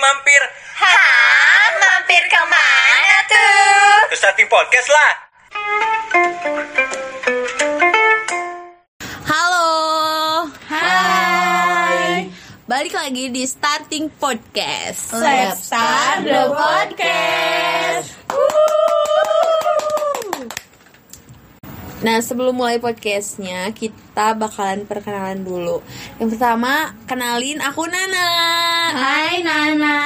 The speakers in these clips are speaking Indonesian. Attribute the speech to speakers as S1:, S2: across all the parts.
S1: mampir
S2: Hah? Mampir kemana tuh?
S1: ke starting podcast lah.
S3: Halo.
S2: Hai.
S3: Balik lagi di Starting Podcast.
S2: Let's start the podcast.
S3: Nah, sebelum mulai podcastnya, kita bakalan perkenalan dulu. Yang pertama, kenalin aku Nana.
S2: Hai Nana.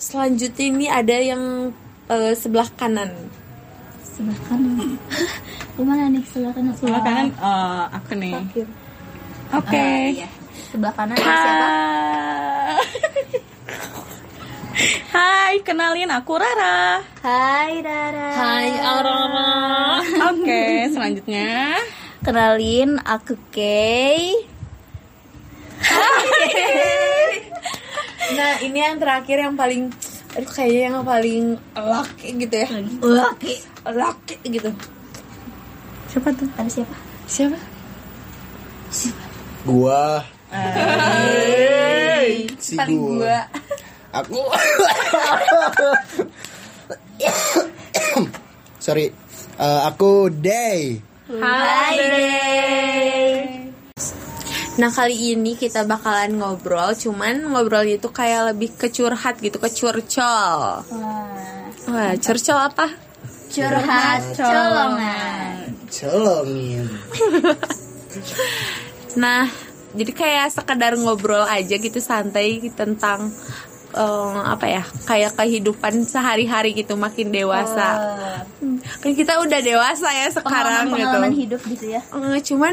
S3: Selanjutnya ini ada yang eh, sebelah kanan.
S2: Sebelah kanan. Kemana nih sebelah kanan?
S4: sebelah kanan eh, aku nih. Eh, Oke.
S2: iya. Sebelah kanan siapa?
S4: Hai, kenalin aku Rara.
S2: Hai Rara.
S3: Hai Aurora.
S4: Oke, selanjutnya
S2: Kenalin aku Kay.
S3: Nah, ini yang terakhir yang paling aduh kayaknya yang paling lucky gitu ya.
S2: Oke.
S3: Lucky gitu.
S4: siapa tuh?
S2: Ada siapa?
S3: Siapa?
S5: gua si gua aku sorry Eh, aku day
S2: Hai Day.
S3: Nah kali ini kita bakalan ngobrol, cuman ngobrol itu kayak lebih ke curhat gitu, ke curcol. Wah, curcol apa?
S2: Curhat colongan.
S5: colongin
S3: Nah, jadi kayak sekedar ngobrol aja gitu santai tentang eh, apa ya, kayak kehidupan sehari-hari gitu makin dewasa. Kan kita udah dewasa ya sekarang
S2: Pengalaman
S3: gitu.
S2: pengalaman hidup gitu ya.
S3: Eh, cuman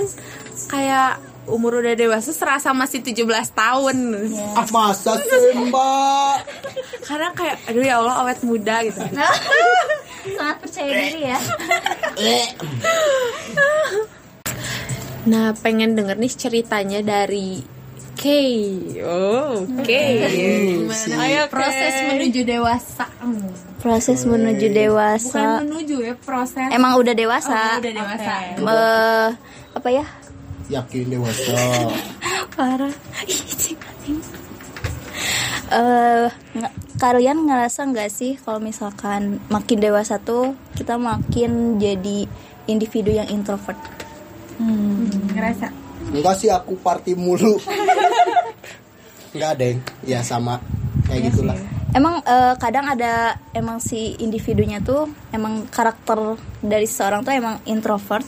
S3: kayak umur udah dewasa serasa masih 17 tahun.
S5: ah masa sih mbak
S3: Karena kayak aduh ya Allah awet muda gitu.
S2: Sangat percaya diri ya.
S5: Eh.
S3: Nah, pengen denger nih ceritanya dari Kay. Oh,
S5: Iya,
S3: Kay.
S5: Hmm, si
S3: Proses menuju dewasa.
S2: Proses menuju
S3: Bukan
S2: dewasa.
S3: menuju ya, proses.
S2: Iya. Emang Oh, udah dewasa.
S3: udah dewasa.
S2: Eh, apa ya?
S5: yakin dewasa
S2: Parah. Eh, nge- kalian ngerasa nggak sih kalau misalkan makin dewasa tuh kita makin jadi individu yang introvert?
S5: enggak sih aku party mulu enggak deng ya sama kayak gitulah
S2: Emang eh, kadang ada emang si individunya tuh emang karakter dari seseorang tuh emang introvert.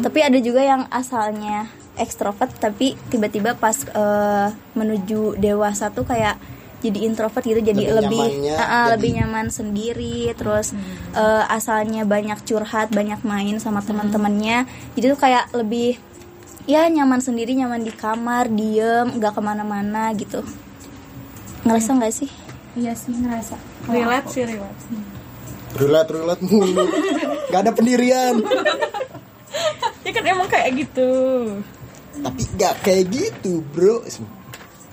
S2: Tapi ada juga yang asalnya ekstrovert tapi tiba-tiba pas eh, menuju dewasa tuh kayak jadi introvert gitu jadi
S5: Lebih
S2: lebih
S5: nyamannya,
S2: Ah, ah,
S5: jadi-
S2: lebih nyaman sendiri terus eh, asalnya banyak curhat banyak main sama teman-temannya jadi tuh kayak lebih ya nyaman sendiri nyaman di kamar diem nggak kemana-mana gitu ngerasa nggak sih
S4: Relate sih relate.
S5: rulat rulat mulu nggak ada pendirian
S4: Ya kan emang kayak gitu.
S5: tapi nggak kayak gitu bro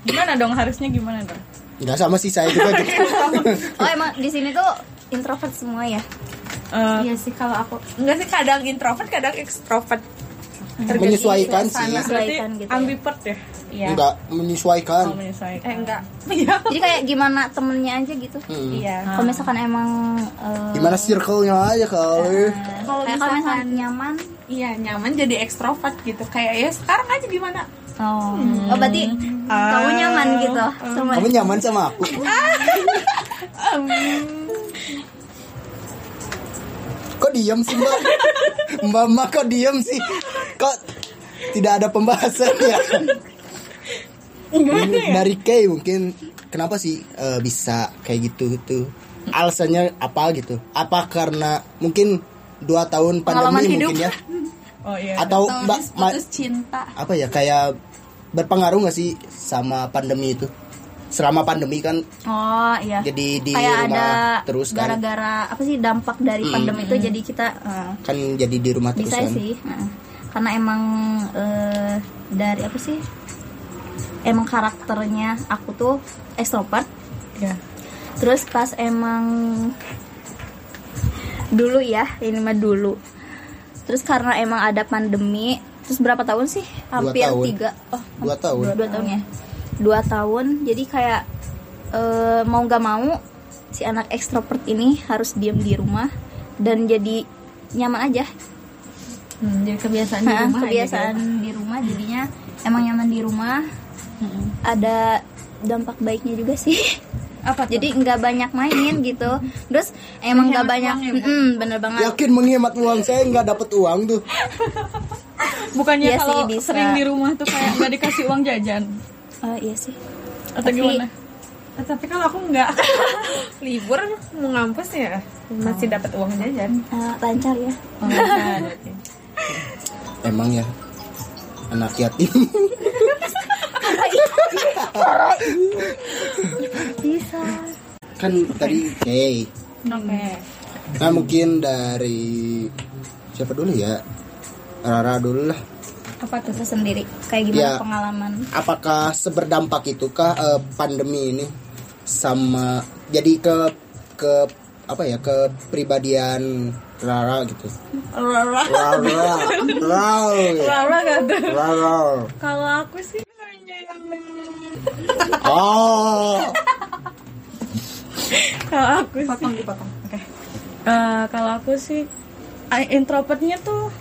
S4: Gimana dong harusnya gimana dong?
S5: nggak sama sih saya juga gitu
S2: Oh emang di sini tuh introvert semua ya?
S4: Eh,
S3: Iya sih kalau aku. Enggak sih kadang introvert, kadang ekstrovert.
S5: menyesuaikan sih
S4: berarti
S2: Menyesuaikan gitu ya.
S4: ambivert ya? Iya.
S5: nggak menyesuaikan
S4: Oh, menyesuaikan.
S3: Eh enggak.
S2: Jadi kayak gimana temennya aja gitu.
S5: Mm-mm.
S4: Iya.
S2: Kalau misalkan emang eh,
S5: gimana circle-nya aja kali
S3: Kalau
S2: kayak kalau misalkan
S3: misalkan
S2: nyaman.
S3: iya nyaman jadi ekstrovert gitu. Kayak ya sekarang aja gimana?
S2: Oh. Oh berarti kamu nyaman gitu sama Ah.
S5: kamu nyaman sama aku kok diam sih mbak mbak mbak kok diam sih kok tidak ada pembahasan ya dari Kay mungkin kenapa sih eh, bisa kayak gitu gitu alasannya apa gitu apa karena mungkin dua tahun
S2: Pengalaman
S5: pandemi
S2: hidup.
S5: mungkin ya
S4: Oh iya.
S5: atau mbak
S3: Tahun
S5: Ma-
S3: putus cinta.
S5: apa ya kayak berpengaruh nggak sih sama pandemi itu selama pandemi kan
S2: Oh iya.
S5: jadi di
S2: kayak
S5: rumah
S2: ada
S5: terus kan
S2: gara-gara apa sih dampak dari pandemi itu jadi kita eh,
S5: kan jadi di rumah terus
S2: bisa
S5: kan
S2: sih. Heeh. karena emang eh, dari apa sih? Emang karakternya aku tuh extrovert
S4: Iya.
S2: Terus pas emang dulu ya, ini mah dulu. Terus karena emang ada pandemi, terus berapa tahun sih? Hampir
S5: tahun.
S2: tiga, oh
S5: dua tahun
S2: dua, dua tahun ya. Dua tahun, jadi kayak eh, mau nggak mau si anak ekstrovert ini harus diam di rumah dan jadi nyaman aja
S1: Hmm, jadi kebiasaan di rumah
S2: Nah,
S1: aja
S2: kebiasaan
S1: gitu.
S2: di rumah jadinya emang nyaman di rumah ada dampak baiknya juga sih
S1: Apa tuh?
S2: jadi nggak banyak main gitu terus emang nggak
S1: Menghemat
S2: banyak
S1: uang ya, Bu?
S2: Mm, bener banget
S5: Yakin menghemat uang saya nggak dapat uang tuh.
S4: Bukannya
S2: Iya sih,
S4: kalau
S2: bisa.
S4: sering di rumah tuh kayak nggak dikasih uang jajan
S2: Eh, iya sih
S4: atau
S2: Tapi-
S4: gimana? Eh, Tapi kalau aku nggak
S3: libur mau ngampus ya
S4: masih dapat uang jajan.
S2: Eh, lancar ya
S4: Oh, bukan. Oke.
S5: Emang ya anak yatim.
S2: bisa
S5: kan tadi hey.
S4: Oke.
S5: Nah mungkin dari siapa dulu ya? Rara dulu lah.
S2: apa tuh sendiri kayak gimana
S5: Ya.
S2: pengalaman
S5: Apakah seberdampak itukah eh, pandemi ini sama jadi ke ke apa ya ke pribadian Rara gitu? Rara, Rara, Rara,
S4: Rara nggak tuh.
S5: Rara.
S4: Kalau aku sih hanya yang-
S5: Oh,
S4: kalau aku sih Oke. Eh, kalau aku sih eh, introvertnya tuh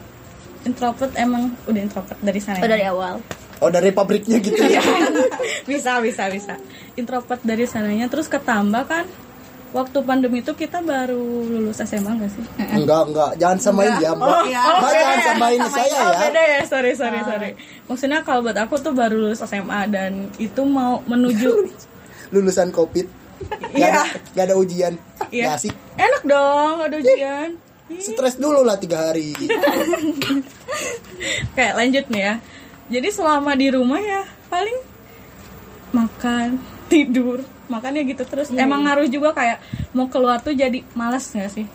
S4: introvert emang udah introvert dari sana
S2: oh dari awal
S5: oh dari pabriknya gitu ya?
S4: bisa bisa bisa introvert dari sananya terus ketambah kan waktu pandemi itu kita baru lulus SMA gak sih
S5: Enggak enggak, jangan samain ya, Mbak.
S4: iya.
S5: Mbak jangan samain saya
S4: Oh,
S5: ya.
S4: beda ya sorry sorry sorry maksudnya kalau buat aku tuh baru lulus SMA dan itu mau menuju
S5: Lulusan COVID. Gak ada, gak ada ujian.
S4: Iya.
S5: Gak asik.
S4: enak dong ada ujian
S5: Stres dulu lah tiga hari.
S4: kayak lanjut nih ya jadi selama di rumah ya paling makan tidur makannya gitu terus emang ngaruh juga kayak mau keluar tuh jadi malas nggak sih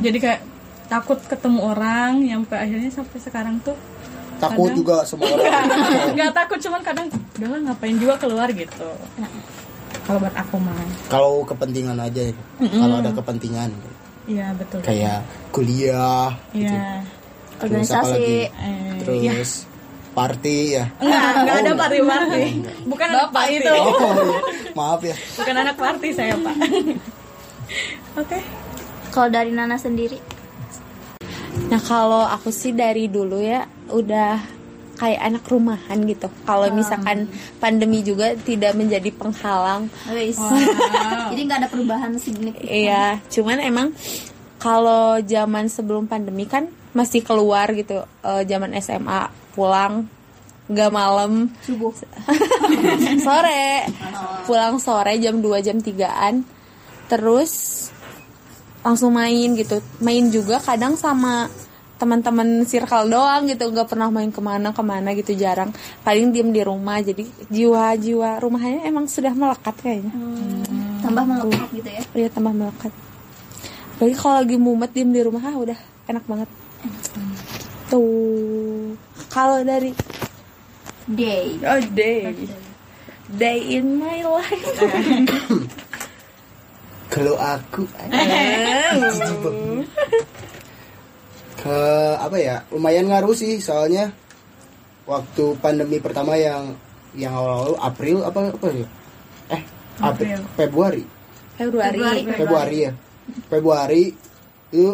S4: jadi kayak takut ketemu orang yang sampai akhirnya sampai sekarang tuh
S5: Takut
S4: Kadang.
S5: juga semua orang.
S4: nggak takut cuman kadang udahlah ngapain juga keluar gitu kalau buat aku mah
S5: Kalau kepentingan aja ya. Kalau ada kepentingan
S4: iya betul
S5: kayak gitu. kuliah gitu.
S4: iya
S5: Terus apa
S2: organisasi
S5: lagi?
S4: eh,
S5: Terus party ya.
S4: nggak nggak ada party party bukan anak party itu
S5: Oh, iya. maaf ya.
S4: bukan anak party saya pak oke
S2: kalau dari Nana sendiri
S3: Nah kalau aku sih dari dulu ya udah kayak anak rumahan gitu. Kalau misalkan pandemi juga tidak menjadi penghalang.
S2: Wis. jadi nggak ada perubahan signifikan
S3: Iya, cuman emang kalau zaman sebelum pandemi kan masih keluar gitu. Eh, zaman SMA pulang nggak malam
S2: subuh
S3: sore pulang sore jam 2 jam 3an terus langsung main gitu main juga kadang sama teman-teman circle doang gitu nggak pernah main kemana kemana gitu jarang paling diem di rumah jadi jiwa-jiwa rumahnya emang sudah melekat kayaknya
S2: Hmm. tambah melekat gitu ya
S3: Iya tambah melekat Apalagi kalau lagi mumet diem di rumah ah, udah enak banget Tuh Kalau dari
S2: day
S4: oh day
S3: day in my life
S5: Kalau aku Eh. ke apa ya? Lumayan ngaruh sih soalnya waktu pandemi pertama yang yang awal-awal April apa apa ya? Eh, April, Februari.
S3: Februari
S5: Februari ya Februari itu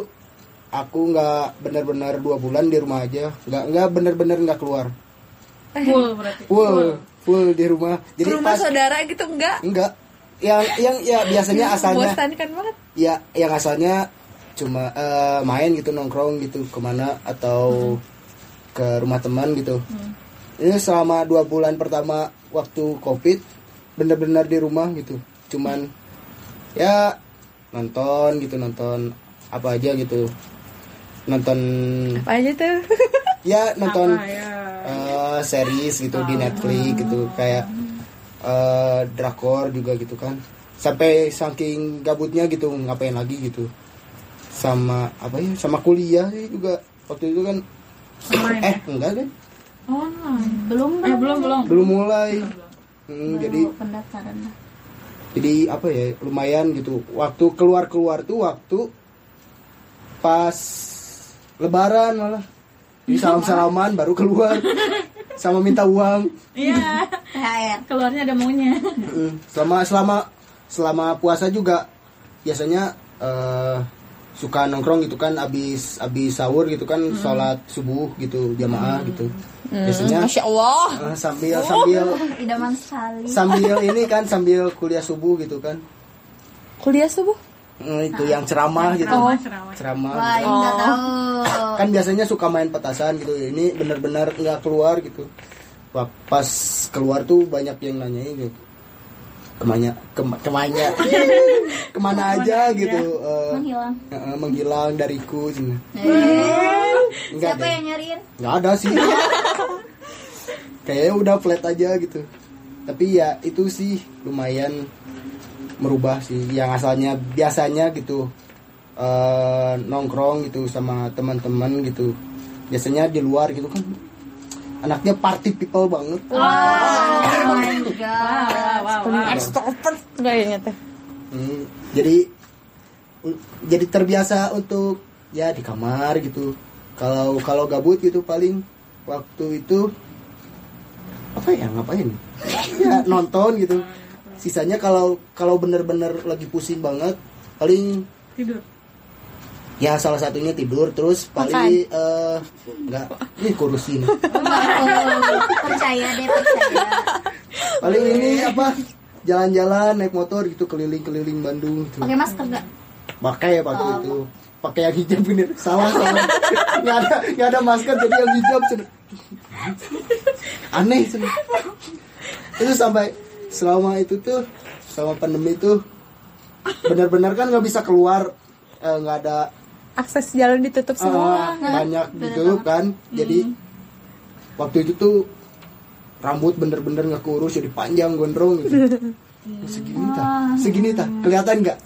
S5: aku nggak benar-benar dua bulan di rumah aja nggak nggak benar-benar nggak keluar
S4: full berarti
S5: full full di rumah jadi
S3: Rumah
S5: pas
S3: saudara gitu enggak
S5: nggak yang yang ya biasanya asalnya
S3: Bosankan banget
S5: ya yang asalnya cuma eh, main gitu nongkrong gitu kemana atau ke rumah teman gitu ini selama dua bulan pertama waktu covid bener-bener di rumah gitu cuman ya nonton gitu nonton apa aja gitu nonton
S3: Apa aja tuh
S5: ya nonton
S4: ya
S5: eh, series gitu di Netflix gitu kayak eh, drakor juga gitu kan sampai saking gabutnya gitu ngapain lagi gitu sama apa ya sama kuliah sih juga waktu itu kan eh enggak kan
S4: online
S2: belum
S4: eh Oh, belum belum
S5: belum mulai Hmm, jadi
S2: pendaftaran
S5: jadi apa ya lumayan gitu waktu keluar keluar tuh waktu pas lebaran malah jadi salam salaman baru keluar sama minta uang
S4: iya
S2: THR
S4: keluarnya ada maunya
S5: Mm, Hmm, selama selama selama puasa juga biasanya eh, suka nongkrong gitu kan abis abis sahur gitu kan
S3: Hmm.
S5: sholat subuh gitu jamaah gitu biasanya
S3: Masya Allah. Oh.
S5: eh, sambil sambil
S2: idaman sekali
S5: sambil ini kan sambil kuliah subuh gitu kan
S3: Kuliah subuh.
S5: Eh, itu yang ceramah gitu
S4: Oh,
S5: ceramah
S2: wah iya. ini nggak tahu
S5: kan biasanya suka main petasan gitu ini benar-benar nggak keluar gitu Wah, pas keluar tuh banyak yang nanyain gitu kemanya kema- kemanya kemana aja gitu eh,
S2: menghilang
S5: eh, eh, menghilang dariku gitu. enggak
S2: Eh, siapa
S5: deh
S2: yang nyariin
S5: nggak ada sih kayaknya udah flat aja gitu tapi ya itu sih lumayan merubah sih yang asalnya biasanya gitu eh, nongkrong gitu sama teman-teman gitu biasanya di luar gitu kan anaknya party people banget
S3: Extrovert kayaknya teh.
S5: Hmm, jadi u- jadi terbiasa untuk ya di kamar gitu kalau kalau gabut gitu paling waktu itu apa ya ngapain ya nonton gitu sisanya kalau kalau bener-bener lagi pusing banget paling
S4: tidur
S5: ya salah satunya tidur terus paling eh, nggak ini kurusin
S2: percaya deh percaya
S5: paling ini apa jalan-jalan naik motor gitu keliling-keliling Bandung gitu.
S2: pakai masker nggak
S5: pakai waktu itu pakai yang hijab bener salah salah nggak ada nggak ada masker jadi yang hijab cenah. aneh cenah. itu sampai selama itu tuh selama pandemi tuh benar-benar kan nggak bisa keluar eh, nggak ada
S3: Akses jalan ditutup semua.
S5: ah, banyak gitu kan jadi waktu itu tuh rambut bener-bener nggak keurus jadi panjang gondrong gitu segini tah segini tah kelihatan nggak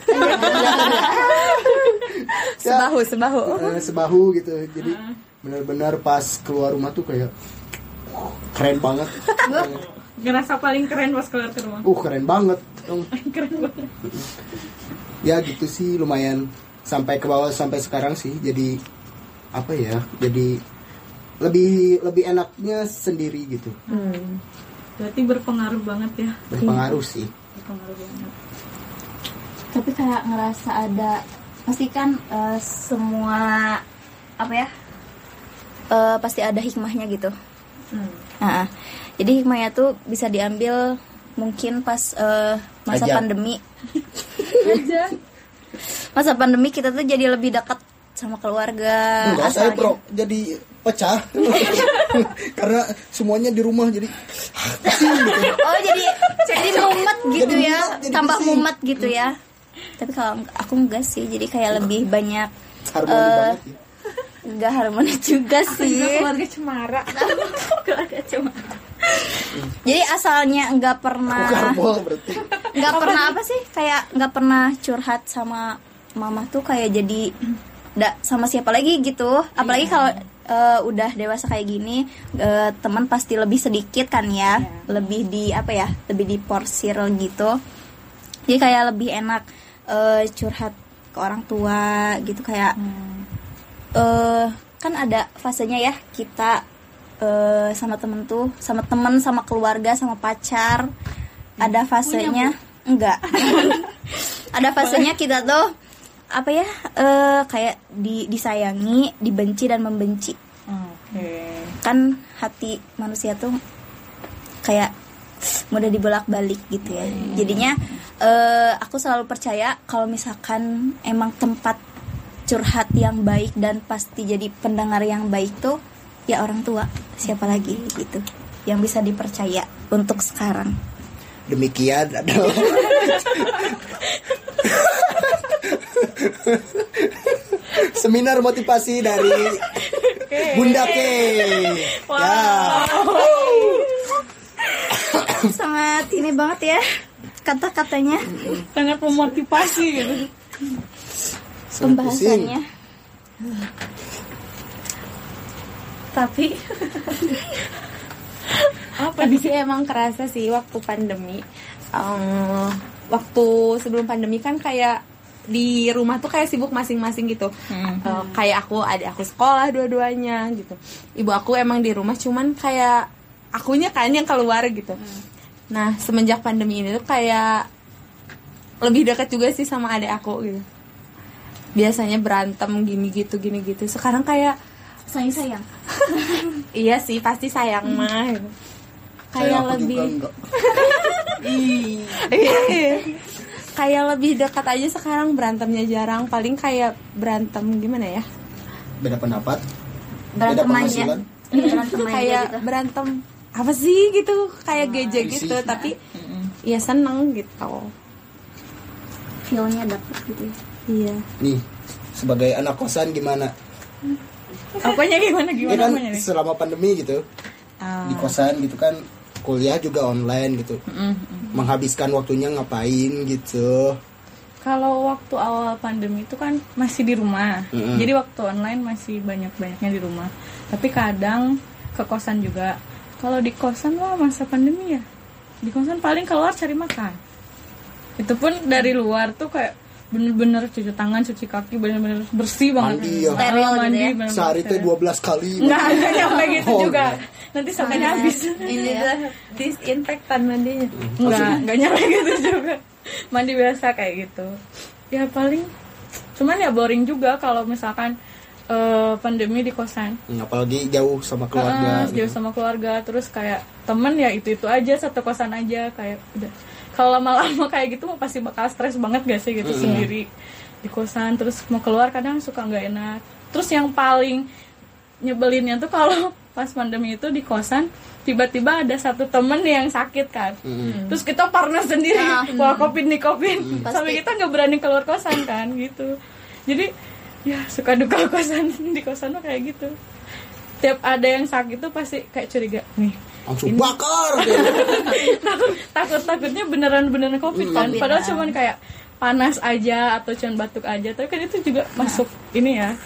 S3: Sebahu, sebahu.
S5: Eh, sebahu gitu jadi benar-benar pas keluar rumah tuh kayak uh, keren banget
S4: ngerasa paling keren pas keluar ke rumah
S5: uh keren banget Em,
S4: keren banget
S5: ya gitu sih lumayan sampai ke bawah sampai sekarang sih jadi apa ya jadi lebih lebih enaknya sendiri gitu
S4: berarti berpengaruh banget ya
S5: berpengaruh sih
S4: berpengaruh banget
S2: tapi kayak ngerasa ada pasti kan eh, semua apa ya Eh, pasti ada hikmahnya gitu
S4: hmm.
S2: Ah, ah. jadi hikmahnya tuh bisa diambil mungkin pas eh, masa
S5: Ajak.
S2: pandemi masa pandemi kita tuh jadi lebih dekat sama
S4: Eh,
S2: keluarga gitu.
S5: enggak saya
S2: asalnya-
S5: pro jadi pecah karena semuanya di rumah jadi
S2: oh jadi jadi mumet gitu
S5: Jadi
S2: ya
S5: mumet, jadi
S2: tambah
S5: pusing.
S2: mumet gitu ya tapi kalau enggak- aku enggak sih jadi kayak lebih banyak
S5: harmoni
S2: Eh,
S5: banget ya.
S2: enggak harmonis juga sih
S4: keluarga cemara
S2: jadi asalnya enggak
S4: eh,
S2: pernah
S5: Karbol berarti
S2: nggak pernah apa sih kayak nggak pernah curhat sama mama tuh kayak jadi nggak sama siapa lagi gitu apalagi kalau eh, udah dewasa kayak gini eh, teman pasti lebih sedikit kan ya lebih di apa ya lebih diporsir gitu jadi kayak lebih enak eh, curhat ke orang tua gitu kayak eh kan ada fasenya ya kita eh, sama temen tuh sama temen sama keluarga sama pacar ada fasenya enggak ada fasenya kita tuh apa ya eh, kayak di- disayangi dibenci dan membenci
S4: oke
S2: kan hati manusia tuh kayak mudah dibolak-balik gitu ya. Jadinya eh, aku selalu percaya kalau misalkan emang tempat curhat yang baik dan pasti jadi pendengar yang baik tuh ya orang tua siapa lagi gitu yang bisa dipercaya untuk sekarang.
S5: demikian adalah seminar motivasi dari Bunda K. Ya,
S2: Sangat ini banget ya kata-katanya
S4: sangat memotivasi gitu
S5: sangat pusing.
S2: pembahasannya. Tapi
S3: Apa sih emang kerasa sih waktu pandemi. Em, waktu sebelum pandemi kan kayak di rumah tuh kayak sibuk masing-masing gitu. Eh, kayak aku ada aku sekolah dua-duanya gitu. Ibu aku emang di rumah cuman kayak akunya kan yang keluar gitu. Nah, semenjak pandemi ini tuh kayak lebih dekat juga sih sama adik aku gitu biasanya berantem gini gitu gini gitu sekarang kayak
S2: sayang sayang
S3: iya sih pasti sayang mah gitu. kayak
S5: aku juga
S3: lebih
S5: enggak.
S3: kayak lebih dekat aja sekarang berantemnya jarang paling kayak berantem gimana ya
S5: beda pendapat beda
S2: berantem aja
S5: penghasilan
S2: berantem aja
S3: kayak
S2: gitu
S3: berantem apa sih gitu kayak geje
S5: isi.
S3: gitu tapi ya seneng gitu
S2: feelnya dapet gitu ya.
S3: iya
S5: nih sebagai anak kosan gimana
S4: Apanya gimana
S5: ini
S4: gimana
S5: kan
S4: apanya nih? Ah.
S5: selama pandemi gitu di kosan gitu kan kuliah juga online gitu menghabiskan waktunya ngapain gitu
S4: Kalau waktu awal pandemi itu kan masih di rumah.
S5: Mm-mm.
S4: Jadi waktu online masih banyak-banyaknya di rumah. Tapi kadang ke kosan juga. Kalau di kosan wah masa pandemi ya. Di kosan paling keluar cari makan. Itu pun dari luar tuh kayak bener-bener cuci tangan, cuci kaki, bener-bener bersih banget.
S5: Mandi ya.
S4: Ah,
S2: Steril gitu
S4: mandi,
S2: ya.
S4: bener-bener
S5: sehari itu
S4: steril.
S5: 12 kali
S4: Nggak, nggak nyampe gitu
S5: Oh,
S4: juga.
S5: nggak.
S4: Nanti sampai
S2: ya?
S4: habis.
S3: ini adalah disinfektan mandinya
S4: Nggak, nggak nyampe gitu juga. Mandi biasa kayak gitu. Ya paling cuman ya boring juga kalau misalkan eh, pandemi di kosan.
S5: Hmm, apalagi jauh sama keluarga
S4: Heeh, Ah, jauh
S5: gitu.
S4: sama keluarga terus kayak temen ya itu-itu aja satu kosan aja kayak udah. Kalau lama-lama kayak gitu pasti bakal stres banget gak sih gitu sendiri di kosan terus mau keluar kadang suka nggak enak. Terus yang paling nyebelinnya tuh kalau pas pandemi itu di kosan tiba-tiba ada satu temen yang sakit kan terus kita parno sendiri wah kopin nih kopin sampai kita nggak berani keluar kosan kan gitu jadi ya suka duka kosan di kosan tuh kayak gitu tiap ada yang sakit tuh pasti kayak curiga nih
S5: langsung bakar gitu.
S4: takut takut takutnya beneran beneran covid kan padahal cuman kayak panas aja atau cuman batuk aja tapi kan itu juga masuk ini ya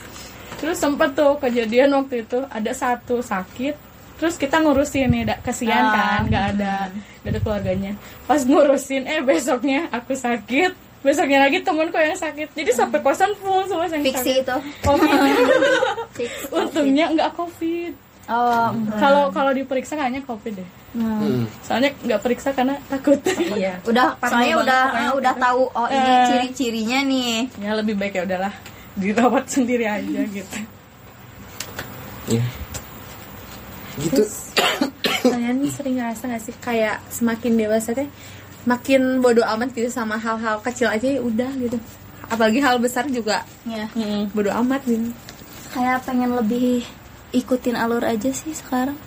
S4: terus sempet tuh kejadian waktu itu ada satu sakit terus kita ngurusin nih da- kesian kan nggak ada nggak ada keluarganya pas ngurusin eh besoknya aku sakit besoknya lagi temanku yang sakit jadi sampai kosan full semua yang
S2: fiksi
S4: sakit
S2: itu
S4: covid
S2: Fix.
S4: untungnya nggak covid
S2: oh
S4: kalau kalau diperiksa kayaknya covid deh
S5: Hmm.
S4: soalnya nggak periksa karena takut
S1: Iya.
S2: udah
S4: Parno
S2: soalnya
S4: banget
S2: udah
S4: pokoknya
S2: ah, udah
S4: gitu.
S2: tahu oh ini
S4: Eh.
S2: ciri-cirinya nih
S4: ya lebih baik ya udahlah dirawat sendiri aja gitu
S5: Iya. gitu
S3: kalian sering ngerasa gak sih kayak semakin dewasa teh makin bodoh amat gitu sama hal-hal kecil aja ya udah gitu apalagi hal besar juga
S4: Iya.
S2: ya
S3: bodoh amat gitu
S2: kayak pengen lebih ikutin alur aja sih sekarang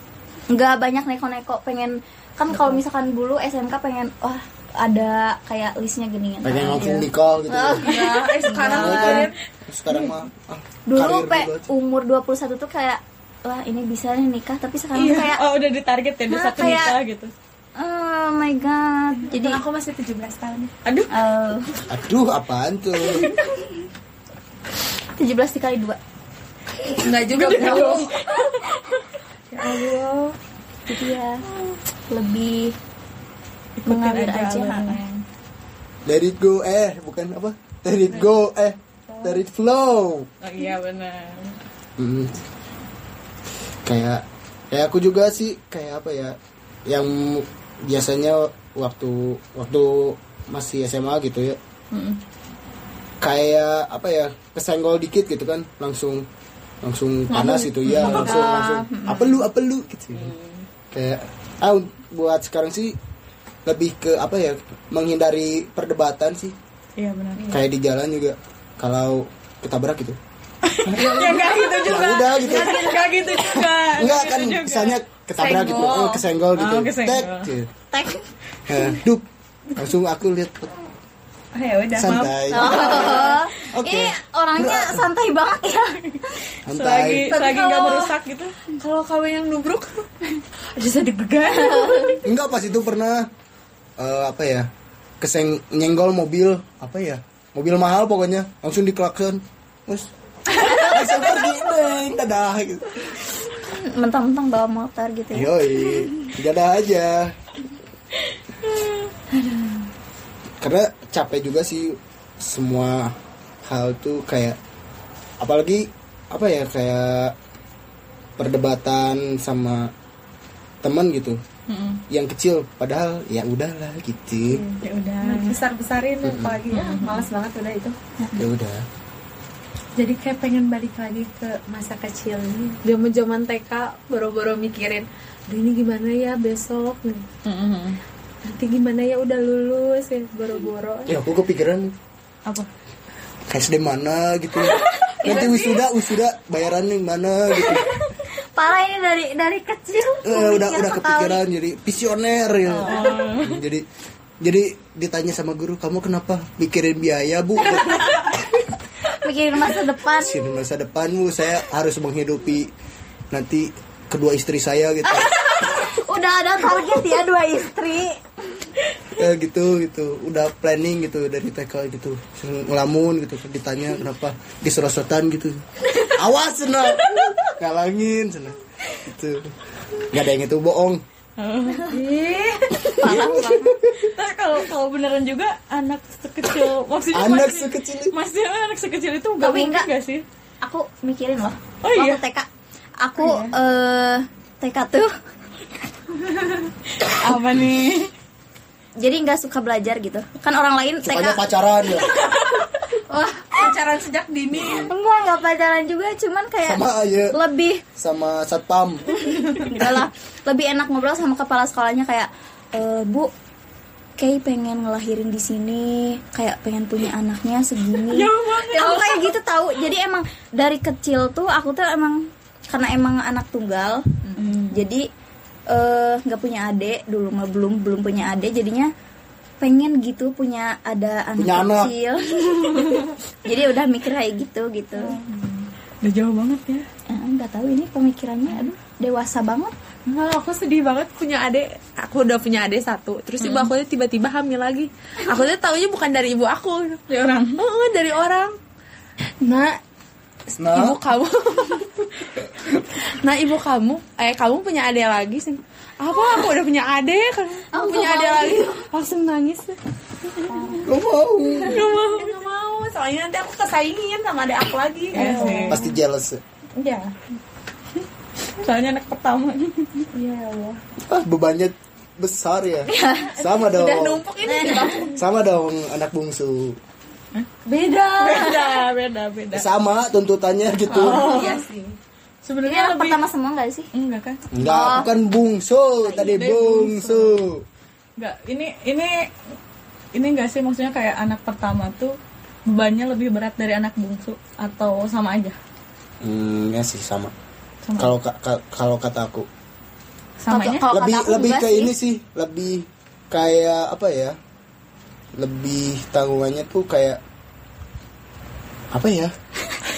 S2: nggak banyak neko-neko pengen kan kalau misalkan dulu SMK pengen wah ada kayak listnya gini kan
S5: pengen langsung nikah gitu
S2: Ah,
S3: ya eh, sekarang
S5: Nah, kan, sekarang mah ah,
S2: iya. dulu
S5: karir
S2: pe
S5: dulu aja.
S2: umur 21 tuh kayak wah ini bisa nih nikah tapi sekarang
S4: Iya.
S2: tuh kayak
S4: oh udah ditarget ya di
S2: Nah,
S4: satu
S2: kayak-
S4: nikah gitu
S2: oh my god jadi
S3: aku masih 17 tahun
S4: aduh
S2: eh,
S5: aduh apaan tuh
S2: 17 dikali dua
S3: nggak juga belum
S2: ya Allah jadi ya lebih mengalir aja,
S4: alurnya.
S5: let it go eh bukan apa let it go eh let it flow
S4: oh, iya benar
S5: Hmm. Kayak ya aku juga sih kayak apa ya yang biasanya waktu waktu masih SMA gitu ya. Kayak apa ya kesenggol dikit gitu kan langsung langsung panas gitu ya langsung langsung apa lu apa lu gitu. Kayak ah buat sekarang sih lebih ke apa ya menghindari perdebatan sih
S4: iya benar
S5: kayak di jalan juga kalau ketabrak gitu
S4: ya nggak gitu
S5: ya
S4: juga
S5: udah gitu
S4: nggak gitu juga
S5: Enggak
S4: Nggak
S5: kan
S4: gitu juga.
S5: misalnya ketabrak gitu, eh, kesenggol gitu.
S4: Oh, kesenggol.
S5: Tek. gitu. Eh, dup. Langsung aku lihat
S4: oh, ya udah maaf
S5: santai. Oke.
S2: ini Iya, orangnya santai banget ya
S5: Santai.
S4: selagi selagi nggak merusak gitu
S3: kalau kamu yang nubruk
S4: bisa dipegang
S5: Enggak pas itu pernah eh, apa ya? Keseng nyenggol mobil, apa ya? Mobil mahal pokoknya, langsung diklakson. Terus langsung pergi deng, dadah gitu.
S2: mentang-mentang bawa motor gitu ya
S5: Yoi, dadah aja. Karena capek juga sih semua hal tuh kayak apalagi apa ya kayak perdebatan sama teman gitu yang kecil padahal ya udahlah gitu
S4: ya udah
S1: besar-besarin apalagi ya, malas banget udah itu.
S5: ya udah
S1: Jadi kayak pengen balik lagi ke masa kecil ini. Zaman zaman TK boro-boro mikirin, aduh ini gimana ya besok
S3: Gitu.
S1: nih. Nanti gimana ya udah lulus
S3: gitu,
S1: ya boro-boro.
S5: ya aku kepikiran
S4: apa
S5: SD mana gitu nanti wisuda wisuda bayarannya mana gitu
S2: Parah ini dari dari kecil.
S5: Eh, udah
S2: iya,
S5: udah kepikiran jadi visioner ya jadi jadi ditanya sama guru kamu kenapa mikirin biaya bu
S2: Mikirin masa depan.
S5: sini masa depanmu saya harus menghidupi nanti kedua istri saya gitu
S2: Udah ada target ya dua istri.
S5: ya gitu gitu udah planning gitu dari TK gitu Terus ngelamun gitu Terus ditanya kenapa diserosotan gitu awas senang kalangin senang gitu nggak ada yang itu bohong
S4: Tapi kalau kalau beneran juga anak sekecil maksudnya
S5: anak
S4: masih-
S5: sekecil itu.
S4: maksudnya anak sekecil itu gak
S2: Tapi
S4: mungkin
S2: enggak.
S4: gak sih
S2: Aku mikirin loh.
S4: Oh, iya?
S2: Waktu TK. Aku eh TK tuh
S4: apa nih
S2: jadi nggak suka belajar gitu. Kan orang lain
S5: Pokoknya
S2: TK
S5: pacaran ya
S3: pacaran sejak dini
S2: enggak enggak pacaran juga, cuman kayak
S5: sama aja
S2: lebih
S5: sama satpam
S2: Enggak lah lebih enak ngobrol sama kepala sekolahnya kayak "Eh, bu kayak pengen ngelahirin di sini kayak pengen punya anaknya segini aku kayak gitu tahu jadi emang dari kecil tuh aku tuh emang karena emang anak tunggal jadi eh, nggak punya adik dulu mah belum belum punya adik jadinya pengen gitu punya ada anak
S5: Punya anak.
S2: kecil jadi udah mikir kayak gitu gitu
S4: udah jauh banget ya
S2: Eh, nggak tahu ini pemikirannya aduh dewasa banget
S3: Wah, aku sedih banget punya adik. Aku udah punya adik satu. Terus ibu aku tuh tiba-tiba hamil lagi. Aku tuh taunya bukan dari ibu aku.
S4: ya orang
S3: Heeh, dari orang. Nah, ibu
S5: nah
S3: kamu. nah, ibu kamu, eh kamu punya adik lagi sih. Apa aku udah punya adik? Aku punya adik lagi. Langsung nangis.
S5: lo mau
S3: Gak mau, gak mau. Soalnya nanti aku kesaingin sama adik aku lagi.
S4: Iya sih.
S2: Hmm.
S5: pasti jealous
S3: Iya.
S4: soalnya anak pertama
S5: ah, bebannya besar ya sama dong
S3: Udah numpuk ini di bangku.
S5: sama dong anak bungsu
S4: beda beda beda
S5: sama tuntutannya gitu
S2: Oh.
S3: Iya sih.
S2: Ini
S4: sebenarnya
S2: anak
S4: lebih
S2: pertama semua nggak sih?
S4: enggak kan
S5: Enggak,
S2: Oh.
S5: bukan bungsu tadi
S4: iya,
S5: bungsu.
S4: enggak ini ini ini enggak sih maksudnya kayak anak pertama tuh bebannya lebih berat dari anak bungsu atau sama aja
S5: Hmm, ya sih sama.
S4: Sama.
S5: Kalau ka- ka- kalau kata aku
S4: samanya
S2: Kalau kata
S5: lebih
S2: aku
S5: lebih
S2: enggak
S5: ke
S2: sih.
S5: ini sih, lebih kayak apa ya? Lebih tanggungannya tuh kayak apa ya?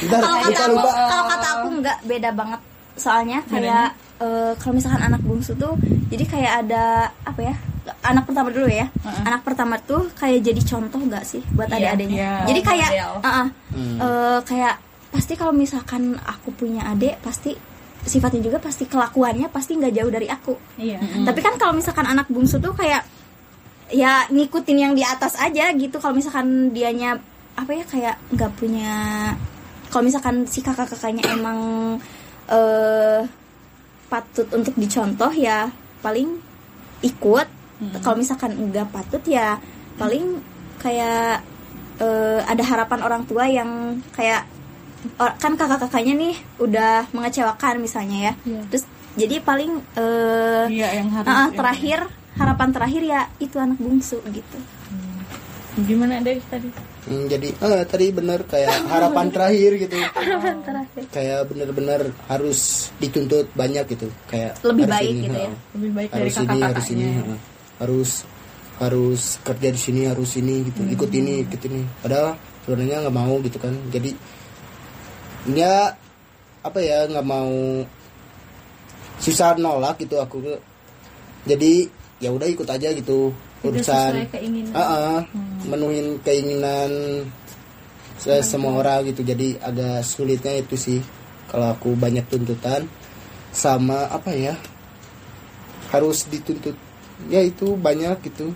S5: Bentar,
S2: Kalau kata
S5: lupa
S2: aku,
S5: lupa.
S2: kalau kata aku nggak beda banget. Soalnya kayak eh, kalau misalkan anak bungsu tuh, jadi kayak ada apa ya? Anak pertama dulu ya. Anak pertama tuh kayak jadi contoh nggak sih buat
S4: Iya,
S2: adik-adiknya.
S4: iya,
S2: jadi kayak,
S4: model.
S2: uh-uh,
S5: Hmm.
S2: eh, kayak pasti kalau misalkan aku punya adik pasti sifatnya juga pasti kelakuannya pasti nggak jauh dari aku.
S4: iya
S2: Tapi kan kalau misalkan anak bungsu tuh kayak ya ngikutin yang di atas aja gitu. Kalau misalkan dianya apa ya kayak nggak punya kalau misalkan si kakak-kakaknya emang eh patut untuk dicontoh ya paling ikut. Kalau misalkan nggak patut ya paling kayak eh, ada harapan orang tua yang kayak or- kan kakak-kakaknya nih udah mengecewakan misalnya ya. Terus jadi paling eh
S4: iya
S1: gitu.
S4: yang harus
S2: Ah, ah,
S5: ya.
S4: yang-
S2: terakhir harapan terakhir ya itu anak bungsu gitu.
S4: gimana dari tadi
S5: Hmm, jadi eh, tadi bener kayak harapan terakhir gitu.
S2: Harapan terakhir.
S5: Kayak bener-bener harus dituntut banyak gitu. Kayak
S2: Lebih
S5: harus
S2: baik gitu ya.
S5: heeh.
S4: lebih baik dari
S5: harus ini
S3: ya.
S4: kakak-kakaknya
S5: harus ini heeh. harus harus kerja di sini harus ini gitu
S2: Hmm.
S5: ikut ini ikut ini padahal sebenarnya nggak mau gitu kan jadi dia apa ya nggak mau susah nolak gitu aku jadi ya udah ikut aja gitu urusan
S4: keinginan
S5: Heeh, Ah,
S2: Hmm.
S5: menuhin keinginan se- semua orang gitu jadi agak sulitnya itu sih kalau aku banyak tuntutan sama apa ya harus dituntut ya itu banyak gitu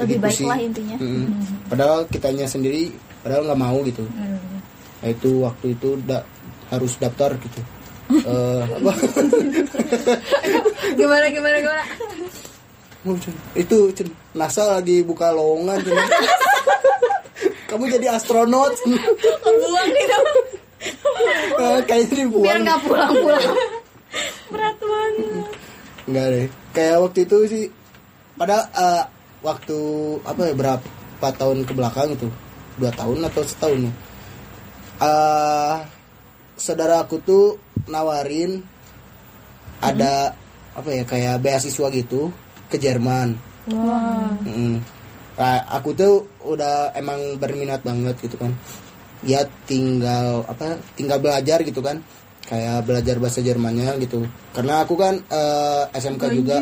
S2: Lebih
S5: Begitu
S2: baik
S5: sih.
S2: lah intinya.
S5: Mm-mm.
S1: Hmm.
S5: padahal kitanya sendiri padahal nggak mau gitu Nah, itu waktu itu da- harus daftar gitu eh, apa
S1: gimana gimana gimana
S5: Mau, Cun. itu Cun. NASA lagi buka lowongan Cun. kamu jadi astronot
S4: Kebuang gitu.
S5: Eh, kayaknya
S2: biar
S5: dibuang
S2: nggak pulang-pulang
S4: Berat banget.
S5: Enggak deh. Kayak waktu itu sih padahal eh, waktu apa ya berapa tahun ke belakang itu? Dua tahun atau setahun ya. Eh, saudara aku tuh nawarin ada apa ya kayak beasiswa gitu ke Jerman. Mm. Nah, aku tuh udah emang berminat banget gitu kan. Ya tinggal apa? Tinggal belajar gitu kan. Kayak belajar bahasa Jermannya gitu. Karena aku kan eh, SMK juga.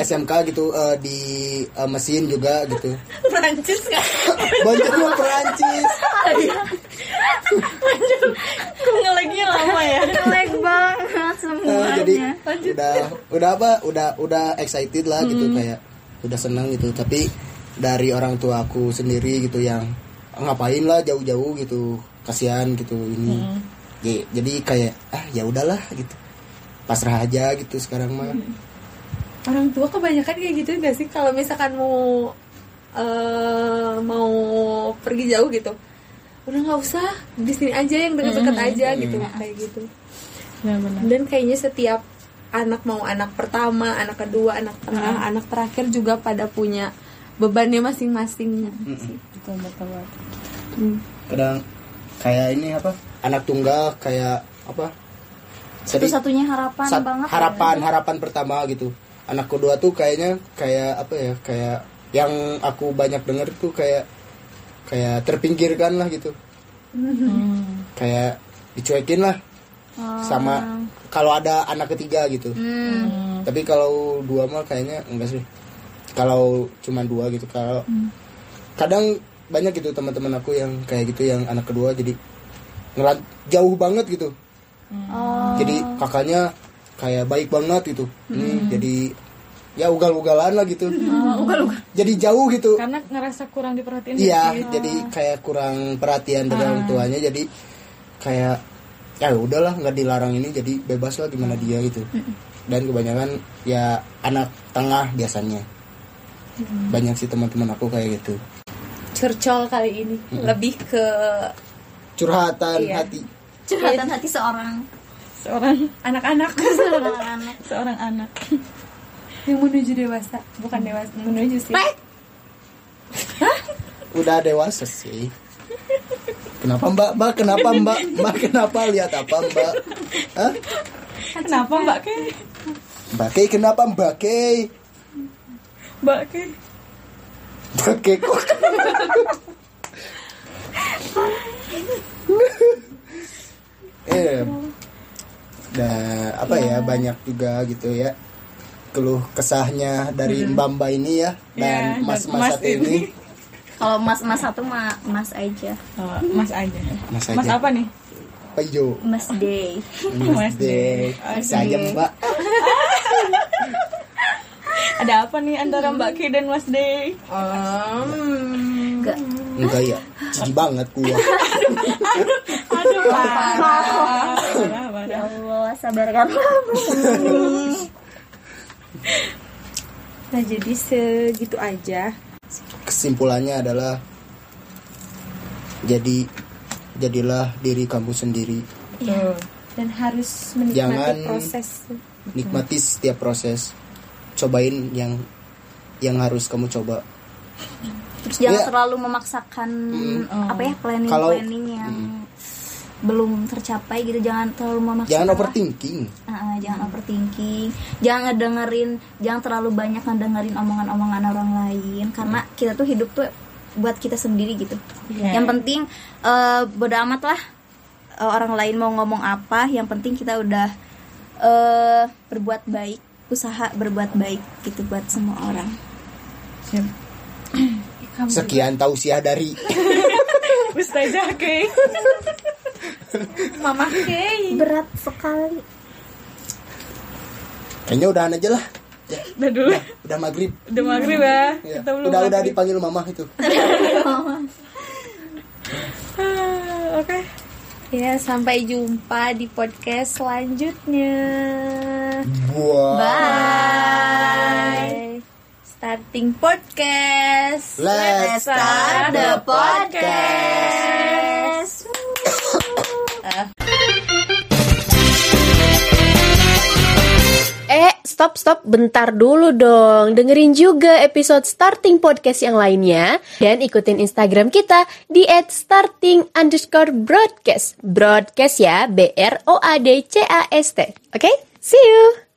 S5: SMK gitu eh, di eh, mesin juga gitu.
S4: Perancis nggak?
S5: Banyak tuh Perancis.
S4: Kok ngelagnya lama ya?
S2: jelek banget
S5: Nah,
S2: semuanya
S5: jadi udah udah apa? Udah udah excited lah gitu kayak udah seneng gitu. Tapi dari orang tua aku sendiri gitu yang ngapain lah jauh-jauh gitu. Kasihan gitu ini. Jadi, jadi kayak ah ya udahlah gitu. Pasrah aja gitu sekarang mah.
S1: orang tua kebanyakan kayak gitu gak sih kalau misalkan mau eh, mau pergi jauh gitu udah nggak usah di sini aja yang deket-deket aja gitu
S4: Iya.
S1: kayak gitu dan kayaknya setiap anak mau anak pertama anak kedua anak tengah anak terakhir juga pada punya bebannya masing-masing sih.
S5: Kadang kayak ini apa? Anak tunggal kayak apa? Jadi-
S2: satu-satunya harapan
S5: Sat-
S2: banget ya.
S5: harapan harapan pertama gitu anak kedua tuh kayaknya kayak apa ya kayak yang aku banyak denger tuh kayak kayak terpinggirkan lah gitu
S2: Hmm.
S5: kayak dicuekin lah
S2: Oh.
S5: sama kalau ada anak ketiga gitu
S2: Hmm.
S5: tapi kalau dua mah kayaknya enggak sih kalau cuma dua gitu kalau
S2: Hmm.
S5: kadang banyak gitu teman-teman aku yang kayak gitu yang anak kedua jadi ngelan- jauh banget gitu
S2: Oh,
S5: jadi kakaknya kayak baik banget gitu Hmm, jadi ya ugal-ugalan lah gitu jadi jauh gitu
S4: Karena ngerasa kurang diperhatiin.
S5: iya jadi kayak kurang perhatian dari orang tuanya jadi kayak ya udahlah nggak dilarang ini jadi bebas lah gimana dia gitu dan kebanyakan ya anak tengah biasanya banyak sih teman-teman aku kayak gitu
S1: curcol kali ini lebih ke
S5: curhatan
S1: Iya.
S5: hati
S2: curhatan hati seorang
S4: Seorang anak-anak.
S2: seorang anak
S4: Seorang anak. Mm.
S1: yang menuju dewasa bukan dewasa menuju sih
S2: Nah,
S5: udah dewasa sih kenapa mbak mbak kenapa mbak mbak kenapa lihat apa mbak Hah?
S4: Kenapa Mbak Kay?
S5: Mbak Kay kenapa Mbak Kay?
S4: Mbak Kay.
S5: Mbak Kay kok Eh, nah, apa ya banyak juga gitu ya keluh kesahnya dari Mbak Mbak ini ya
S4: Iya,
S5: dan
S4: dan
S5: Mas Mas
S4: Mas
S5: satu ini
S2: kalau mas mas satu mah mas aja
S4: Oh, mas aja.
S5: Mas
S4: Mas
S5: aja.
S4: apa nih?
S5: Pejo
S2: mas day
S5: Mas Dek saja Mbak
S4: Ada apa nih antara Mbak Kay dan Mas Day?
S2: enggak
S5: enggak ya jijik banget gua
S4: Aduh, parah. Parah,
S2: ya
S4: parah.
S2: allah sabarkanlah
S1: nah jadi segitu aja
S5: kesimpulannya adalah jadi jadilah diri kamu sendiri
S1: dan harus menikmati
S5: Jangan-
S1: proses
S5: nikmati setiap proses cobain yang yang harus kamu coba
S2: terus jangan
S5: Iya.
S2: terlalu memaksakan apa ya planning
S5: Hmm. Kalau- Hmm.
S2: planning yang belum tercapai gitu jangan terlalu memaksakan
S5: jangan
S2: lah.
S5: overthinking
S2: Ah, ah, jangan overthinking jangan ngedengerin jangan terlalu banyak ngedengerin omongan-omongan orang lain karena kita tuh hidup tuh buat kita sendiri gitu yang penting eh bodo amat lah eh, orang lain mau ngomong apa yang penting kita udah eh berbuat baik usaha berbuat baik gitu buat semua orang
S5: sekian tausiah dari
S4: Ustazah Kay.
S1: mama Kay
S2: berat sekali
S5: kayaknya udahan aja lah Ya,
S4: Udah dulu.
S5: udah maghrib
S4: Udah maghrib ya.
S5: Ya,
S4: Kita belum
S5: udah udah
S4: maghrib.
S5: dipanggil mamah itu
S4: Ah, Oke.
S3: Ya, sampai jumpa di podcast selanjutnya.
S5: Buah.
S3: Bye. Starting podcast.
S5: Let's start the
S3: podcast.
S6: Eh, stop stop bentar dulu dong. Dengerin juga episode starting podcast yang lainnya dan ikutin Instagram kita di @starting underscore broadcast. Broadcast ya, B R O A D C A S T. Oke, see you.